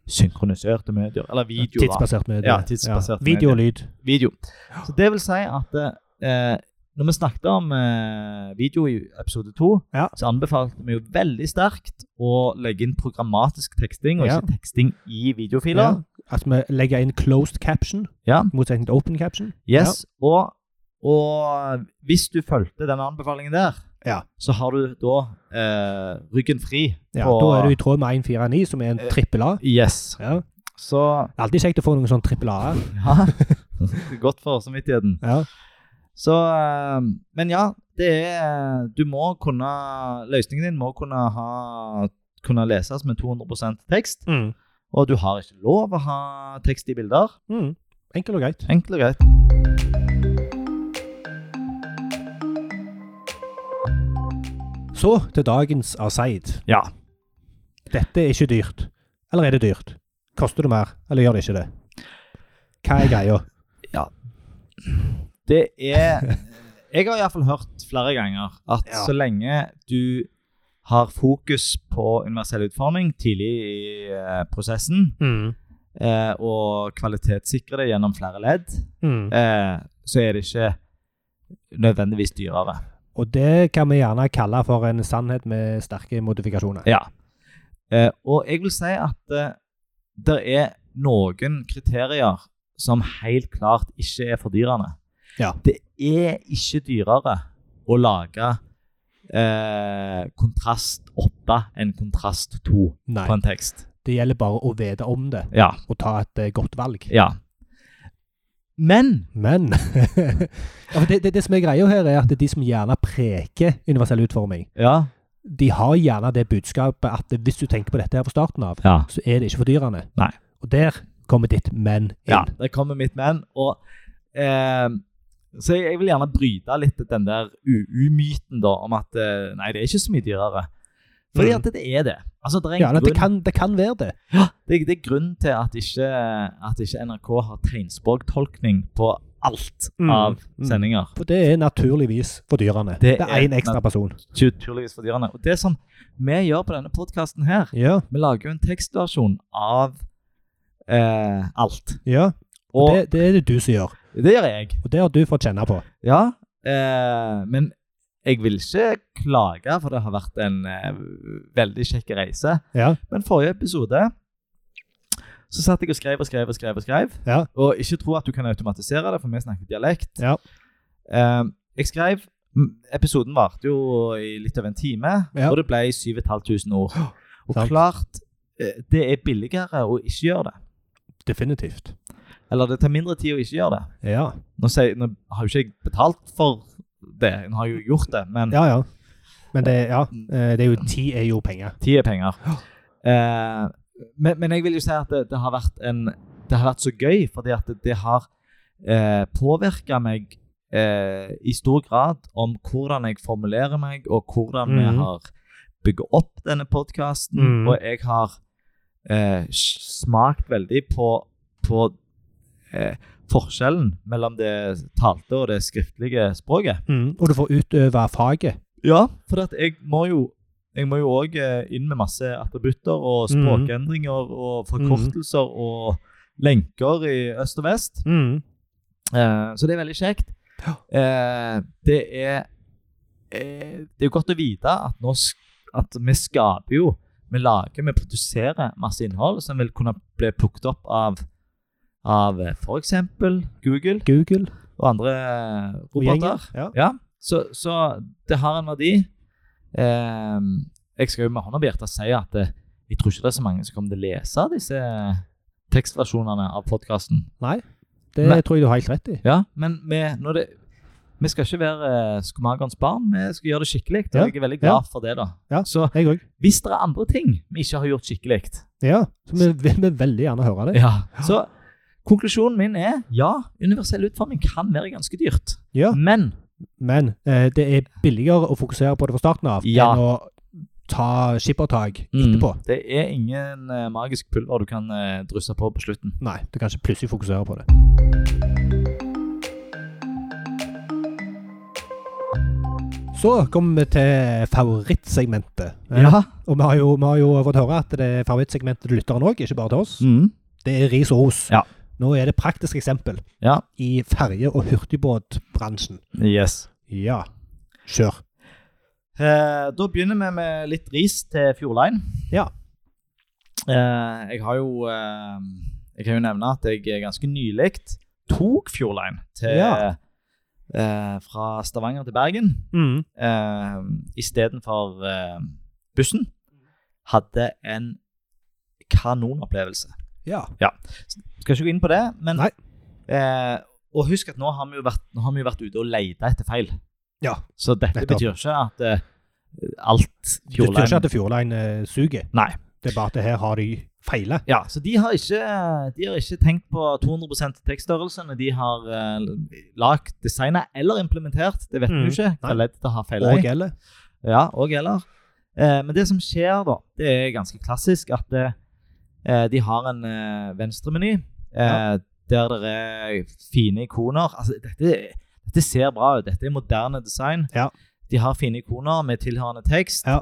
synkroniserte medier, eller video. da. Tidsbasert medie. Ja, tidsbasert Video og lyd. video. Så det vil si at eh, når vi snakket om eh, video i episode 2, Ja. så anbefalte vi jo veldig sterkt å legge inn programmatisk teksting, og Ja. ikke teksting i videofiler. At vi legger inn closed caption, Ja. motsetning til open caption. Yes, og, og hvis du fulgte den anbefalingen der, Ja. så har du da eh, ryggen fri. Ja, på- Da er du i tråd med 149, som er en Eh, trippel A. [laughs] Yes. Ja. Så Alltid kjekt å få noen sånn trippel A-er. [laughs] ja. Godt for samvittigheten. Ja. Så eh, Men ja, det er Du må kunne Løsningen din må kunne ha kunne leses med 200 tekst, Mm. og du har ikke lov å ha tekst i bilder. Mm. Enkelt og greit. Enkelt og greit. Så til dagens aside. Ja. Dette er ikke dyrt. Eller er det dyrt? Koster det mer, eller gjør det ikke det? Hva er greia? Det er Jeg har iallfall hørt flere ganger at Ja. så lenge du har fokus på universell utforming tidlig i eh, prosessen, eh, og kvalitetssikrer det gjennom flere ledd, Mm. eh, så er det ikke nødvendigvis dyrere. Og det kan vi gjerne kalle for en sannhet med sterke modifikasjoner. Ja. Eh, og jeg vil si at eh, det er noen kriterier som helt klart ikke er fordyrende. Ja. Det er ikke dyrere å lage eh, kontrast 8 enn kontrast 2 Nei. på en tekst. Det gjelder bare å vite om det Ja. og ta et eh, godt valg. ja. Men Men [laughs] ja, for det, det, det som er greia her, er at de som gjerne preker universell utforming, Ja. de har gjerne det budskapet at hvis du tenker på dette her fra starten av, ja. så er det ikke fordyrende. Nei. Og der kommer ditt men inn. ja. Der kommer mitt men. Og eh, Så jeg, jeg vil gjerne bryte litt den der UU-myten da, om at eh, nei, det er ikke så mye dyrere. Fordi Mm. at det er det. Altså, det er en Ja, det grunn, kan, det kan være det. det, det er grunn til at ikke, at ikke NRK har tegnspråktolkning på alt Mm. av Mm. sendinger. For det er naturligvis fordyrende. Det Det er én er ekstra nat- person. Naturligvis for dyrene. Og det som vi gjør på denne podkasten her, Ja, vi lager jo en tekstversjon av eh, alt. ja. Og Og det, det er det du som gjør. det gjør jeg. Og det har du fått kjenne på. Ja, eh, men jeg vil ikke klage, for det har vært en eh, veldig kjekk reise. Ja, Men forrige episode så satt jeg og skrev og skrev og skrev. Og skrev. Ja. Og ikke tro at du kan automatisere det, for vi snakker dialekt. Ja. Eh, jeg skrev m, Episoden varte jo i litt over en time, Ja. og det ble 7500 [gasps] ord. Og sant. klart, eh, det er billigere å ikke gjøre det. definitivt. Eller det tar mindre tid å ikke gjøre det. Ja, Nå, sier, nå har jo ikke jeg betalt for det, nå har jeg jo gjort det, men ja. ja. Men det, ja, eh, det er jo, tid er jo penger. Tid er penger. Eh, men, men jeg vil jo si at det, det, har, vært en, det har vært så gøy, fordi at det, det har eh, påvirka meg eh, i stor grad om hvordan jeg formulerer meg, og hvordan vi Mhm. har bygget opp denne podkasten. Mhm. Og jeg har eh, s- smakt veldig på, på eh, forskjellen mellom det talte og det skriftlige språket. Mm. Og du får utøve faget. Ja, for at jeg må jo jeg må jo òg inn med masse attributter og Mhm. språkendringer og forkortelser og lenker i øst og vest. Mm. Eh, så det er veldig kjekt. Eh, det er eh, Det er jo godt å vite at, nå, sk- at vi skaper jo Vi lager, vi produserer masse innhold som vil kunne bli plukket opp av av f.eks. Google Google. og andre eh, og gjengen. roboter. Ja. Ja, så, så det har en verdi. Ehm, jeg skal jo med hånda på hjertet si at eh, jeg tror ikke det er så mange som kommer til å lese disse tekstversjonene av podkasten. Nei, det Nei. tror jeg du har helt rett i. Ja, men vi, når det, vi skal ikke være eh, skomagerens barn, vi skal gjøre det skikkelig. Og Ja, jeg er veldig glad for det, da. Ja. Så Jeg òg. hvis det er andre ting vi ikke har gjort skikkelig, Ja, så vi vi vil veldig gjerne høre det. ja. så konklusjonen min er ja, universell utforming kan være ganske dyrt. Ja, Men Men eh, det er billigere å fokusere på det fra starten av Ja. enn å ta skippertak Mm. etterpå. Det er ingen eh, magisk pulver du kan eh, drysse på på slutten. Nei, du kan ikke plutselig fokusere på det. Så kommer vi til favorittsegmentet. Eh, Og vi har, jo, vi har jo fått høre at det er favorittsegmentet til lytteren òg, ikke bare til oss. Mm. Det er ris og ros. Ja. Nå er det praktisk eksempel Ja. i ferje- og hurtigbåtbransjen. Yes. Ja, kjør. Eh, da begynner vi med litt ris til Fjordline. Ja. Eh, jeg har jo eh, Jeg kan jo nevne at jeg eh, ganske nylig tok Fjordline til Ja. eh, Fra Stavanger til Bergen Mm. eh, istedenfor eh, bussen. Hadde en kanonopplevelse. Ja. Skal ikke gå inn på det, men Nei. Eh, Og husk at nå har vi jo vært, nå har vi jo vært ute og leita etter feil. Ja, Så dette nettopp. betyr ikke at eh, alt Det betyr ikke at Fjordline Fjordline eh, suger. Nei. Det er bare at det her har de feila. Ja, så de har ikke, de har ikke tenkt på 200 tekststørrelse når de har uh, lagd, designa eller implementert. Det vet vi Mm. jo ikke. Det Nei. er lett å ha feil i. Og eller. Ja, og eller. Eh, men det som skjer, da, det er ganske klassisk at eh, de har en eh, venstremeny eh, der det er fine ikoner. Altså, dette, dette ser bra ut. Dette er moderne design. Ja. De har fine ikoner med tilhørende tekst. Ja.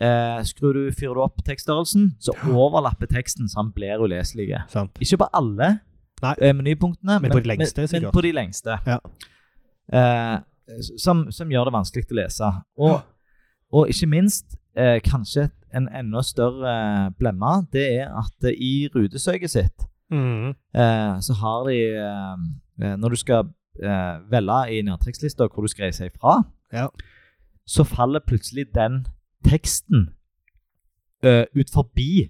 Eh, skrur du, fyrer du opp tekststørrelsen, så overlapper teksten, så han blir uleselig. Sant. Ikke på alle Nei. eh, menypunktene, Men på de lengste, men, men sikkert. på de lengste. Ja. Eh, som, som gjør det vanskelig å lese. Og, og ikke minst, eh, kanskje en enda større eh, blemme, det er at eh, i rutesøket sitt Mm. eh, så har de eh, eh, Når du skal eh, velge i nedtrekkslista hvor du skal reise ifra, Ja. så faller plutselig den teksten eh, ut forbi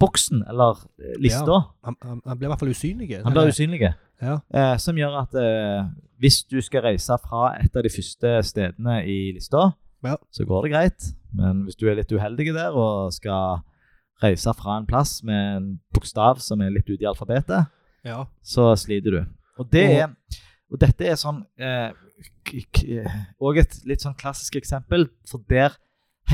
boksen eller eh, lista. Han, han, han blir i hvert fall usynlig. Han blir usynlig. Ja. Eh, som gjør at eh, hvis du skal reise fra et av de første stedene i lista, Ja. så går det greit. Men hvis du er litt uheldig der og skal reise fra en plass med en bokstav som er litt ute i alfabetet, Ja. så sliter du. Og det er, Og dette er sånn eh, k- k- Og et litt sånn klassisk eksempel, for der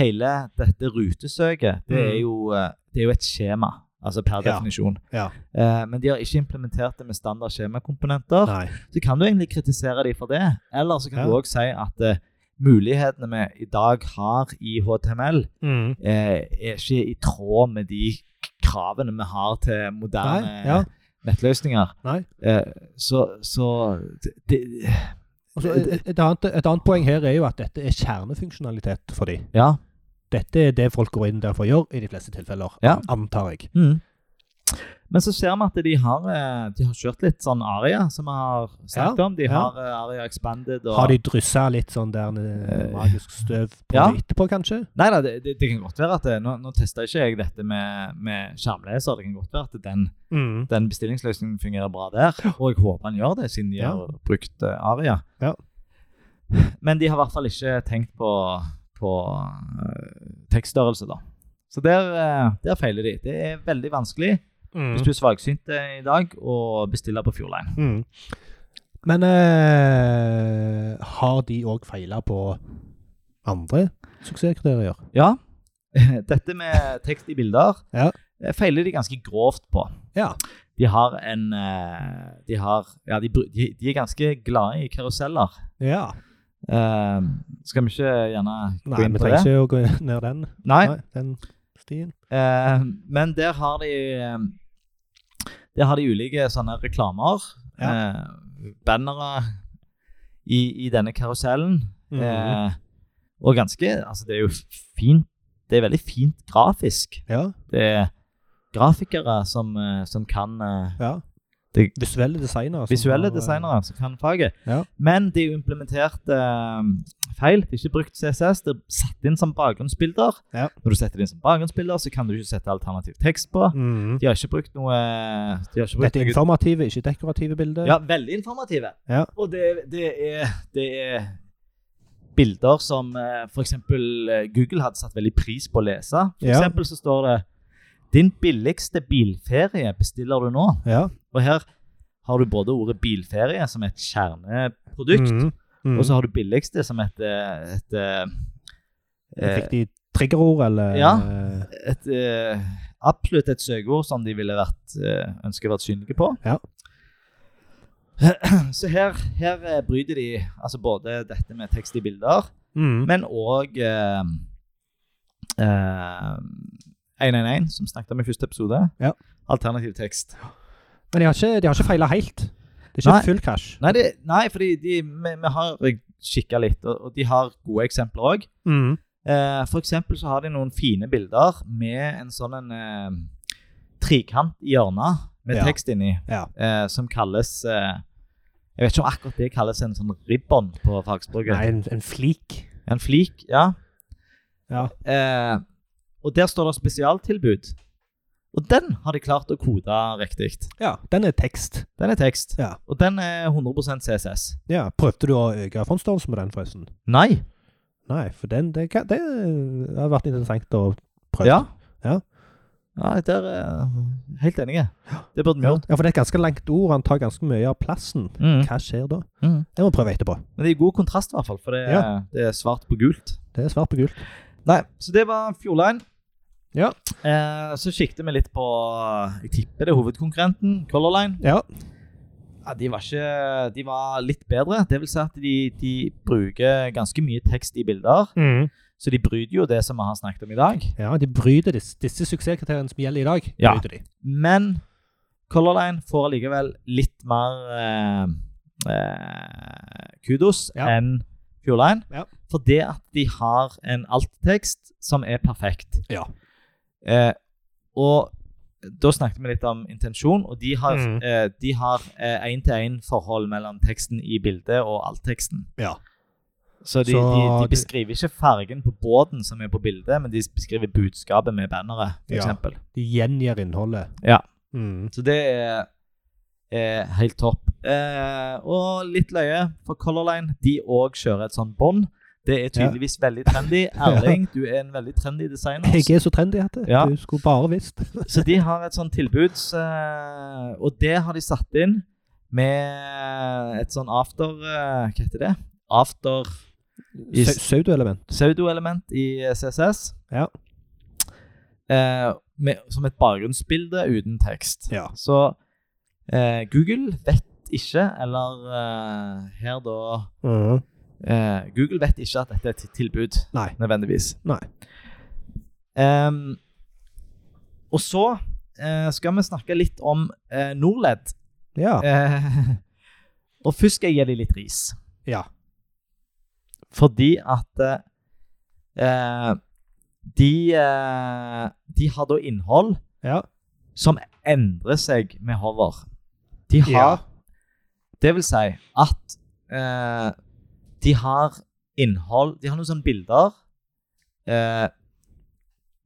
hele dette rutesøket, det er jo, eh, det er jo et skjema, altså per Mm. Ja. definisjon. Ja. Eh, men de har ikke implementert det med standard skjemakomponenter. Nei. Så kan du egentlig kritisere dem for det, eller så kan Ja. du òg si at eh, mulighetene vi i dag har i HTML, Mm. eh, er ikke i tråd med de kravene vi har til moderne Nei, ja. nettløsninger. Nei. Eh, så så det, det, Altså, et, et, annet, et annet poeng her er jo at dette er kjernefunksjonalitet for de. Ja. Dette er det folk går inn der for å gjøre i de fleste tilfeller, Ja. antar jeg. Mm. Men så ser vi at de har, eh, de har kjørt litt sånn aria, som vi har snakket Ja, om. De ja. har eh, aria expanded. Og, Har de dryssa litt sånn der eh, magisk støv på Ja. det etterpå, kanskje? Nei da, det, det, det kan godt være at det, Nå, nå testa ikke jeg dette med, med skjermleser. Det kan godt være at den, Mm. den bestillingsløsningen fungerer bra der. Og jeg håper den gjør det, siden de Ja. har brukt eh, Aria. Ja. Men de har i hvert fall ikke tenkt på, på eh, tekststørrelse, da. Så der, eh, der feiler de. Det er veldig vanskelig Mm. hvis du er svaksynt eh, i dag og bestiller på Fjordline. Mm. Men eh, har de òg feila på andre suksesskriterier? Ja, [laughs] dette med tekst i bilder Ja. eh, feiler de ganske grovt på. Ja. De har en eh, De, har, ja, de, bru- de, de er ganske glade i karuseller. ja. Eh, skal vi ikke gjerne gå Nei, inn vi på det? trenger ikke å gå ned den, Nei. Nei, den stien. Eh, men der har de eh, Der har de ulike sånne reklamer. Eh, bannere i, i denne karusellen. Mhm. Mm. Eh, og ganske Altså, det er jo fint Det er veldig fint grafisk. Ja. Det er grafikere som, eh, som kan eh, ja. Det- Visuelle designere. Altså, som Visuelle har, eh, designere som kan faget. Ja. Men det er jo implementert eh, feil. Det er ikke brukt CSS. Det er satt inn som bakgrunnsbilder. Ja. Når du setter det inn som bakgrunnsbilder, så kan du ikke sette alternativ tekst på. Mm. De har ikke brukt noe de har ikke brukt Dette er noe- informative, ikke dekorative bilder. Ja, veldig informative. Ja. Og det, det, er, det er bilder som eh, f.eks. Google hadde satt veldig pris på å lese. For Ja. eksempel så står det 'Din billigste bilferie bestiller du nå'. Ja. Og her har du både ordet 'bilferie', som er et kjerneprodukt, Mm. Mm. og så har du 'billigste', som et, eh, et, eh, eh, Fikk de triggerord, eller Ja. eh, et, eh, absolutt et søkeord som de ville vært, eh, ønske vært synlige på. Ja. [clears throat] Så her, her eh, bryter de altså både dette med tekst i bilder, mm. men òg eh, eh, 111, som snakket om i første episode. Ja. Alternativ tekst. Men de har ikke, de har ikke feila helt. Det er ikke Nei. full krasj. Nei, det, nei fordi de, vi, vi har kikka litt, og, og de har gode eksempler òg. Mm. Eh, for eksempel så har de noen fine bilder med en sånn en, eh, trikant i hjørnet med Ja. tekst inni, Ja. eh, som kalles eh, Jeg vet ikke om akkurat det kalles en sånn ribbon på fagspråket. Nei, en, en flik. En flik, ja. Ja. Eh, og der står det spesialtilbud. Og den har de klart å kode riktig. Ja, den er tekst. Den er tekst. Ja. Og den er 100 CSS. Ja, Prøvde du å øke fondsstørrelsen med den, forresten? Nei. Nei, for den, det, kan- det hadde vært interessant å prøve. Ja. Ja. Ja, der er helt enige. Det burde vi ja, gjort. for det er et ganske langt ord. Han tar ganske mye av plassen. Mm. Hva skjer da? Mm. Jeg må prøve etterpå. Men det er god kontrast, i hvert fall, for det er, Ja. det er svart på gult. Det er svart på gult. Nei, Så det var Fjordline. Ja. Eh, så siktet vi litt på eh, Jeg tipper det er hovedkonkurrenten, Color Line. Ja. Ja, de, var ikke, de var litt bedre. Det vil si at de, de bruker ganske mye tekst i bilder. Så de bryter jo det som vi har snakket om i dag. ja, de bryter disse, disse suksesskriteriene som gjelder i dag. Ja. Bryter de. Men Color Line får allikevel litt mer eh, eh, kudos Ja. enn Fjordline. Ja. For det at de har en alt-tekst som er perfekt. Ja. Eh, og da snakket vi litt om intensjon, og de har Mm. eh, de har én-til-én-forhold mellom teksten i bildet og alt-teksten. Ja. Så, de, Så de, de det- beskriver ikke fargen på båten som er på bildet, men de beskriver budskapet med banneret, Ja. f.eks. eksempel De gjengir innholdet. Ja. Mm. så det er, er helt topp. Eh, og litt løye for Color Line. De òg kjører et sånt bånd. Det er tydeligvis veldig [laughs] trendy. Erling, du er en veldig trendy designer. altså. Jeg er så trendy at det. Ja. du skulle bare visst. eh, Så de har et sånt tilbud, så, og det har de satt inn med et sånn after eh, Hva heter det? After i Sau- Pseudoelement. pseudo-element i CSS. Ja. Eh, med, som et bakgrunnsbilde uten tekst. Ja. Så eh, Google vet ikke, eller eh, her da eh, Google vet ikke at dette er et tilbud, Mm. Nei. nødvendigvis. Nei. Ehm, og så eh, skal vi snakke litt om eh, Norled. Ja. Eh, [laughs] og først skal jeg gi dem litt ris. Ja. Fordi at eh, de, eh, de har da innhold Ja. som endrer seg med hover. De har Det vil si at eh, de har innhold De har noen sånne bilder eh,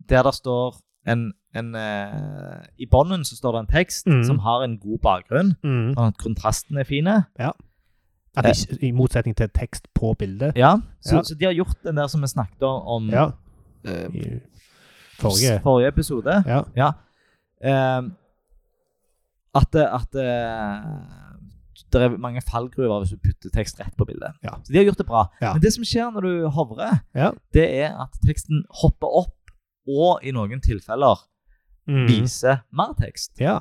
der det står en, en eh, I bunnen så står det en tekst Mhm. som har en god bakgrunn, Mm. sånn at kontrasten er fine. At ikke, I motsetning til tekst på bildet. Ja, så, Ja. så de har gjort den der som vi snakket om Ja. eh, I forrige. forrige episode. Ja. Ehm, at det- at det, det er mange fallgruver hvis du putter tekst rett på bildet. Ja. Så de har gjort det bra. Ja. Men det som skjer når du hovrer, Ja. det er at teksten hopper opp, og i noen tilfeller Mm. viser mer tekst. Ja.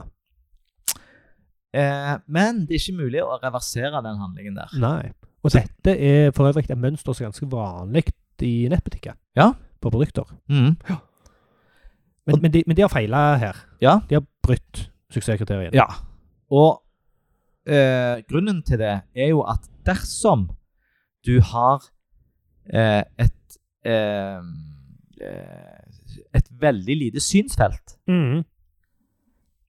Eh, men det er ikke mulig å reversere den handlingen der. Nei. Og dette er for øvrig et mønster som er ganske vanlig i nettbutikker. Ja. På produkter. Mm. Men, men, de, men de har feila her. Ja. De har brutt suksesskriteriet. Ja. Og eh, grunnen til det er jo at dersom du har eh, et eh, eh, et veldig lite synsfelt Mhm.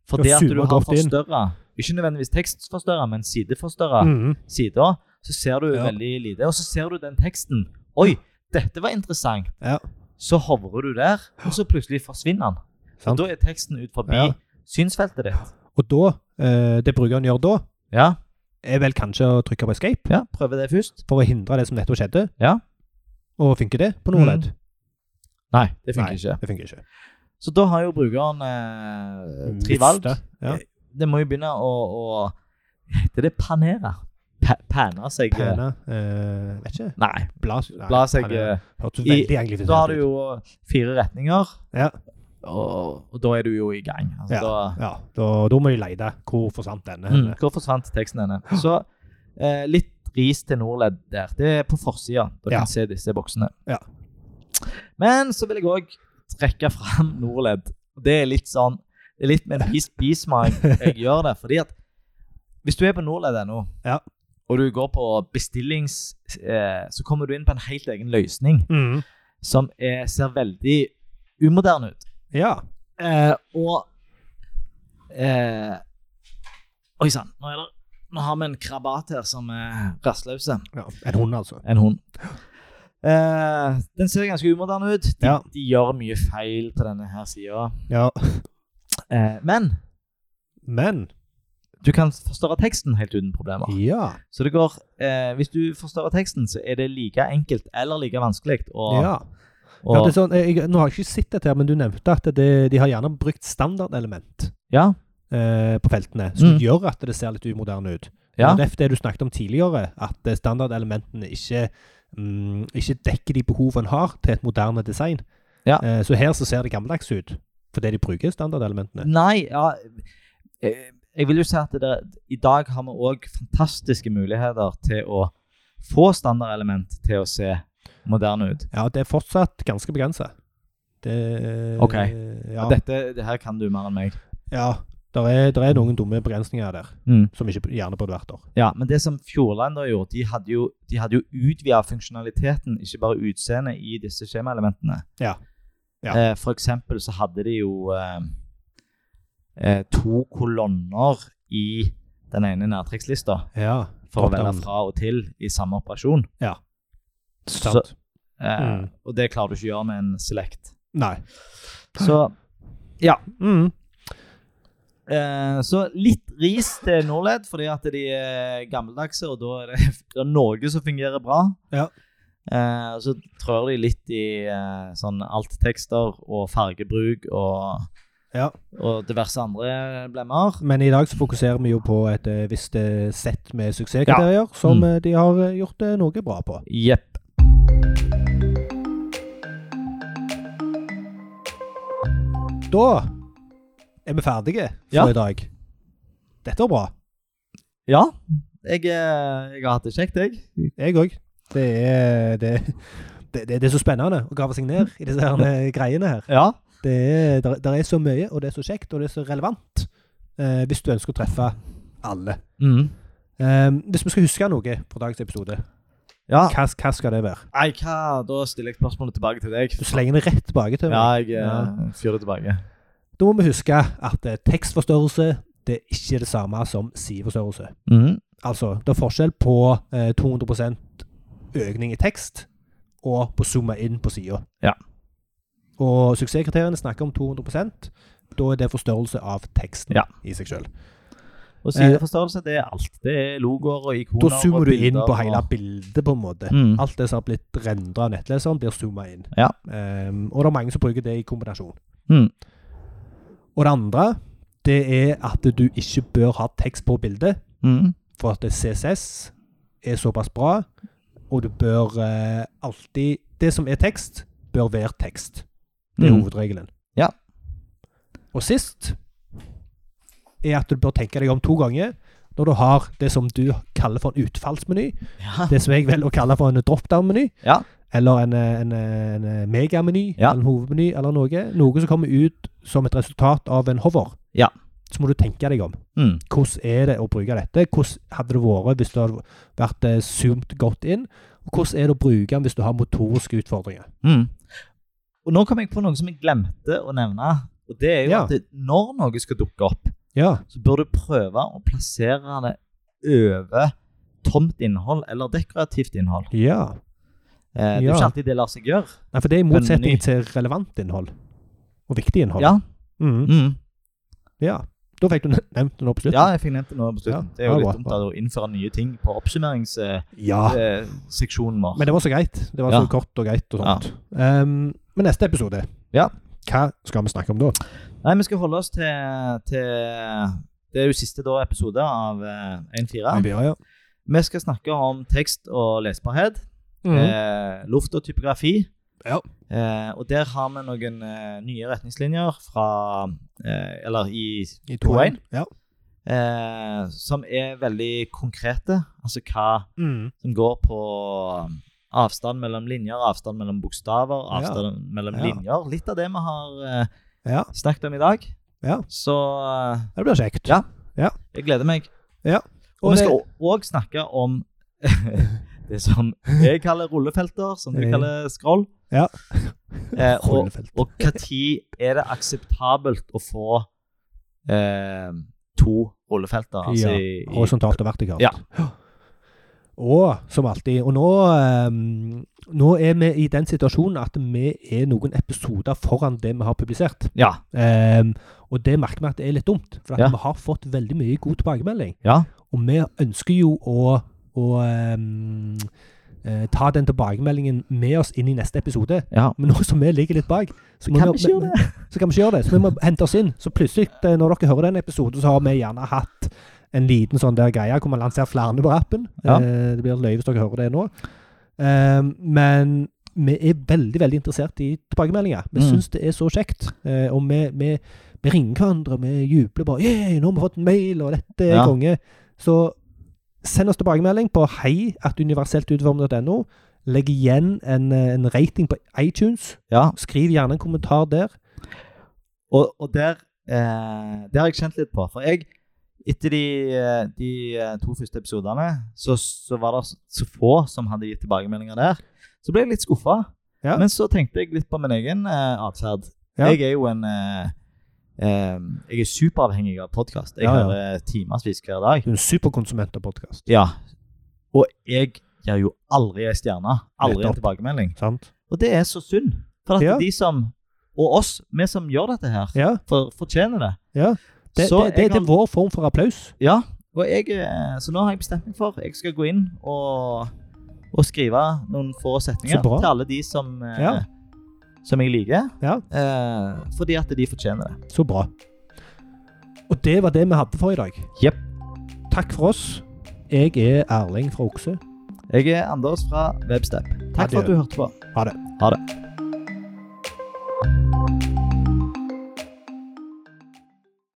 For Ja, det at du zoomer har godt inn. forstørra, ikke nødvendigvis tekstforstørra, men sideforstørra Mhm. sider, så ser du Ja. veldig lite. Og så ser du den teksten. Oi, dette var interessant. Ja. Så hovrer du der, og så plutselig forsvinner den. Og Sant. da er teksten ut forbi Ja. synsfeltet ditt. Og da, eh, det brukeren gjør da, Ja, er vel kanskje å trykke på escape ja prøve det først. for å hindre det som nettopp skjedde. Ja. Og funker det på noe Mhm. ledd? Nei, det Nei, funker ikke. Det funker ikke. Så da har jo brukeren eh, tre Miste. valg. Ja. Det må jo begynne å, å Heter det panere? Pa pane seg eh, Pæne. eh, vet ikke. Nei, Bla, bla seg pæne. eh, Hørtes i- veldig engelsk ut. Da har du jo fire retninger, Ja. og, og da er du jo i gang. Altså, da, Ja, da, da må de leide. Hvor forsvant denne? mm, hvor forsvant teksten henne? Så eh, litt ris til Norled der. Det er på forsida. Du Ja. kan se disse boksene. Ja. Men så vil jeg òg trekke fram Norled. Det er litt sånn det er litt med en bis- bismak jeg gjør det. fordi at Hvis du er på nordled.no, Ja. og du går på bestillings... Eh, så kommer du inn på en helt egen løsning Mhm. som er, ser veldig umoderne ut. Ja. Eh, og eh, Oi sann, nå, er det- nå har vi en krabat her som er rastløse. ja. En hund, altså. En hund. Eh, den ser ganske umoderne ut. De, Ja. de gjør mye feil på denne her sida. Ja. Eh, men Men du kan forstørre teksten helt uten problemer. Ja. Så det går, eh, Hvis du forstørrer teksten, så er det like enkelt eller like vanskelig. å- ja. å- ja det er sånn, jeg, nå har jeg ikke sett dette, her, men du nevnte at det, de har gjerne brukt standardelement ja, eh, på feltene, som Mm. gjør at det ser litt umoderne ut. ja, Det er det du snakket om tidligere, at eh, standardelementene ikke, mm, ikke dekker de behovene en har til et moderne design. Ja. Eh, så her så ser det gammeldags ut, fordi de bruker standardelementene. Nei, ja eh, Jeg vil jo si at det, i dag har vi òg fantastiske muligheter til å få standardelement til å se moderne ut. Ja, det er fortsatt ganske begrenset. Det, Ok. Ja, Og Dette det her kan du mer enn meg. ja der, er, der er noen dumme begrensninger der, Mm. som ikke gjerne burde vært der. Ja, Men det som Fjordland da gjorde, de hadde jo, de hadde jo utvida funksjonaliteten, ikke bare utseendet, i disse skjemaelementene. Ja. Ja. Eh, for eksempel så hadde de jo eh, eh, to kolonner i den ene nærtrekkslista Ja, for å Top velge down. fra og til i samme operasjon. Ja. Så, sant. eh, Mm. Og det klarer du ikke å gjøre med en select. Nei. Så, Mm. eh, så litt ris til Norled, fordi at de er gammeldagse, og da er det, [laughs] det er noe som fungerer bra. Ja. Eh, og så trør de litt i eh, sånn alttekster og fargebruk og Ja. og diverse andre blemmer. Men i dag så fokuserer vi jo på et eh, visst eh, sett med suksesskriterier som Mm. eh, de har eh, gjort eh, noe bra på. Jepp. Da er vi ferdige Ja. for i dag. Dette var bra. Ja, jeg, eh, jeg har hatt det kjekt, jeg. Jeg òg. Det, er- det, det, det er så spennende å grave seg ned i disse her eh, greiene her. Ja. Det er, der, der er så mye, og det er så kjekt, og det er så relevant eh, hvis du ønsker å treffe alle. Mm. Eh, hvis vi skal huske noe på dagens episode, ja. hva, hva skal det være? Nei, hva? Da stiller jeg spørsmålet tilbake til deg. Du slenger det rett bak til meg. Ja, jeg eh, fyrer det tilbake. Da må vi huske at eh, tekstforstørrelse det er ikke det samme som sideforstørrelse. Mhm. Altså, det er forskjell på eh, 200 økning i tekst og på zoome inn på sida. Ja. Og suksesskriteriene snakker om 200 Da er det forstørrelse av teksten Ja. i seg sjøl. Og sideforstørrelse, det er alt. Det er logoer og ikoner. Da zoomer og du inn bilder på hele og- bildet, på en måte. Mm. Alt det som har blitt rendra av nettleseren, blir zooma inn. Ja. Ehm, og det er mange som bruker det i kombinasjon. Mm. Og det andre, det er at du ikke bør ha tekst på bildet, Mm. for at CSS er såpass bra, og du bør eh, alltid Det som er tekst, bør være tekst. Det er Mm. hovedregelen. Ja. Og sist er at du bør tenke deg om to ganger når du har det som du kaller for en utfallsmeny, Ja. [laughs] det som jeg velger å kalle for en drop-down-meny. Ja. Eller en, eh, en, eh, en megameny, Ja. eller en hovedmeny, eller noe. Noe som kommer ut som et resultat av en hover. Ja. Så må du tenke deg om. Mm. Hvordan er det å bruke dette? Hvordan hadde det vært hvis det hadde vært eh, zoomt godt inn? Og hvordan er det å bruke den hvis du har motoriske utfordringer? Mm. Og nå kom jeg på noe som jeg glemte å nevne. Og det er jo Ja. at det- når noe skal dukke opp, Ja. så bør du prøve å plassere det over tomt innhold eller dekorativt innhold. ja. Eh, Det er jo Ja. ikke alltid det lar seg gjøre. Nei, for det er i motsetning Meny. til relevant innhold. Og viktig innhold. Ja, Mhm. mm. ja. Da fikk du ne- nevnt det nå på slutten. ja jeg fikk nevnt det nå på Ja, slutten. Det er jo ja, litt bra, dumt bra. da, å innføre nye ting på oppsummeringsseksjonen Ja. vår. Men det var så greit. Det var Ah. Ja. så kort og greit og sånt. Ehm, men neste episode, Ja. hva skal vi snakke om da? Nei, vi skal holde oss til, til Det er jo siste da episode av eh, 1.4. Ibira, ja. Vi skal snakke om tekst og lesbarhet. Mm. eh, luft og typografi. Mhm. Ja. Eh, og der har vi noen eh, nye retningslinjer fra eh, Eller i I toeren. Ja. eh, Som er veldig konkrete. Altså hva Mm. som går på um, avstand mellom linjer, avstand mellom bokstaver, Ja. avstand mellom Ja. linjer. Litt av det vi har eh, ja. snakket om i dag. Ja. Så eh, Det blir kjekt. Ja. jeg gleder meg. Ja. Og, Og vi det- skal òg snakke om [laughs] det som jeg kaller rullefelter, som du Ja. kaller scroll. Ja. Eh, og Rollefelt. og når er det akseptabelt å få eh, to rullefelter? Altså Ja, i, i, Horisontalt og vertikalt. Ja. Og som alltid Og nå, ehm, nå er vi i den situasjonen at vi er noen episoder foran det vi har publisert. ja, Ehm, og det merker vi at det er litt dumt, for at Ja. vi har fått veldig mye god tilbakemelding. ja, Og vi ønsker jo å, å ehm, eh, ta den tilbakemeldingen med oss inn i neste episode. ja. Men nå som vi ligger litt bak, så, må kan vi ikke gjøre det. [laughs] Så kan vi ikke gjøre det. Så vi må hente oss inn. Så plutselig, eh, når dere hører den episoden, så har vi gjerne hatt en liten sånn der greie hvor man lanserer flere på rappen. Ja. Eh, Det blir løye hvis dere hører det nå. Eh, Men vi er veldig veldig interessert i tilbakemeldinger. Vi Mm. synes syns det er så kjekt. Eh, Og vi, vi, vi ringer hverandre, vi jubler bare. Yeah, nå har vi fått en mail, og dette er Ja. konge. Så send oss tilbakemelding på hei.universeltutformet.no. Legg igjen en, eh, en rating på iTunes. ja. Skriv gjerne en kommentar der. Og, og der, eh, der har jeg kjent litt på. For jeg, etter de, eh, de eh, to første episodene, så, så var det s- så få som hadde gitt tilbakemeldinger der. Så ble jeg litt skuffa. Ja. Men så tenkte jeg litt på min egen eh, atferd. Ja. Jeg er jo en eh, eh, Jeg er superavhengig av podkast. Jeg Ja, ja. hører timevis hver dag. Du er en superkonsument av podkast. Ja. Og jeg gir jo aldri ei stjerne. Aldri en Nettopp. tilbakemelding. Sant? Og det er så synd. For at Ja. de som Og oss, vi som gjør dette her, Ja. for, fortjener det. Ja. Det, Så det, det, jeg det har- er vår form for applaus. Ja, og jeg, eh, så nå har jeg bestemt meg for jeg skal gå inn og, og skrive noen få setninger Så bra. til alle de som, eh, Ja. som jeg liker, Ja, eh, fordi at de fortjener det. så bra. Og det var det vi hadde for i dag. Jep. Takk for oss. Jeg er Erling fra Okse. Jeg er Anders fra Webstep. Takk for at du hørte på. Ha det. Ha det.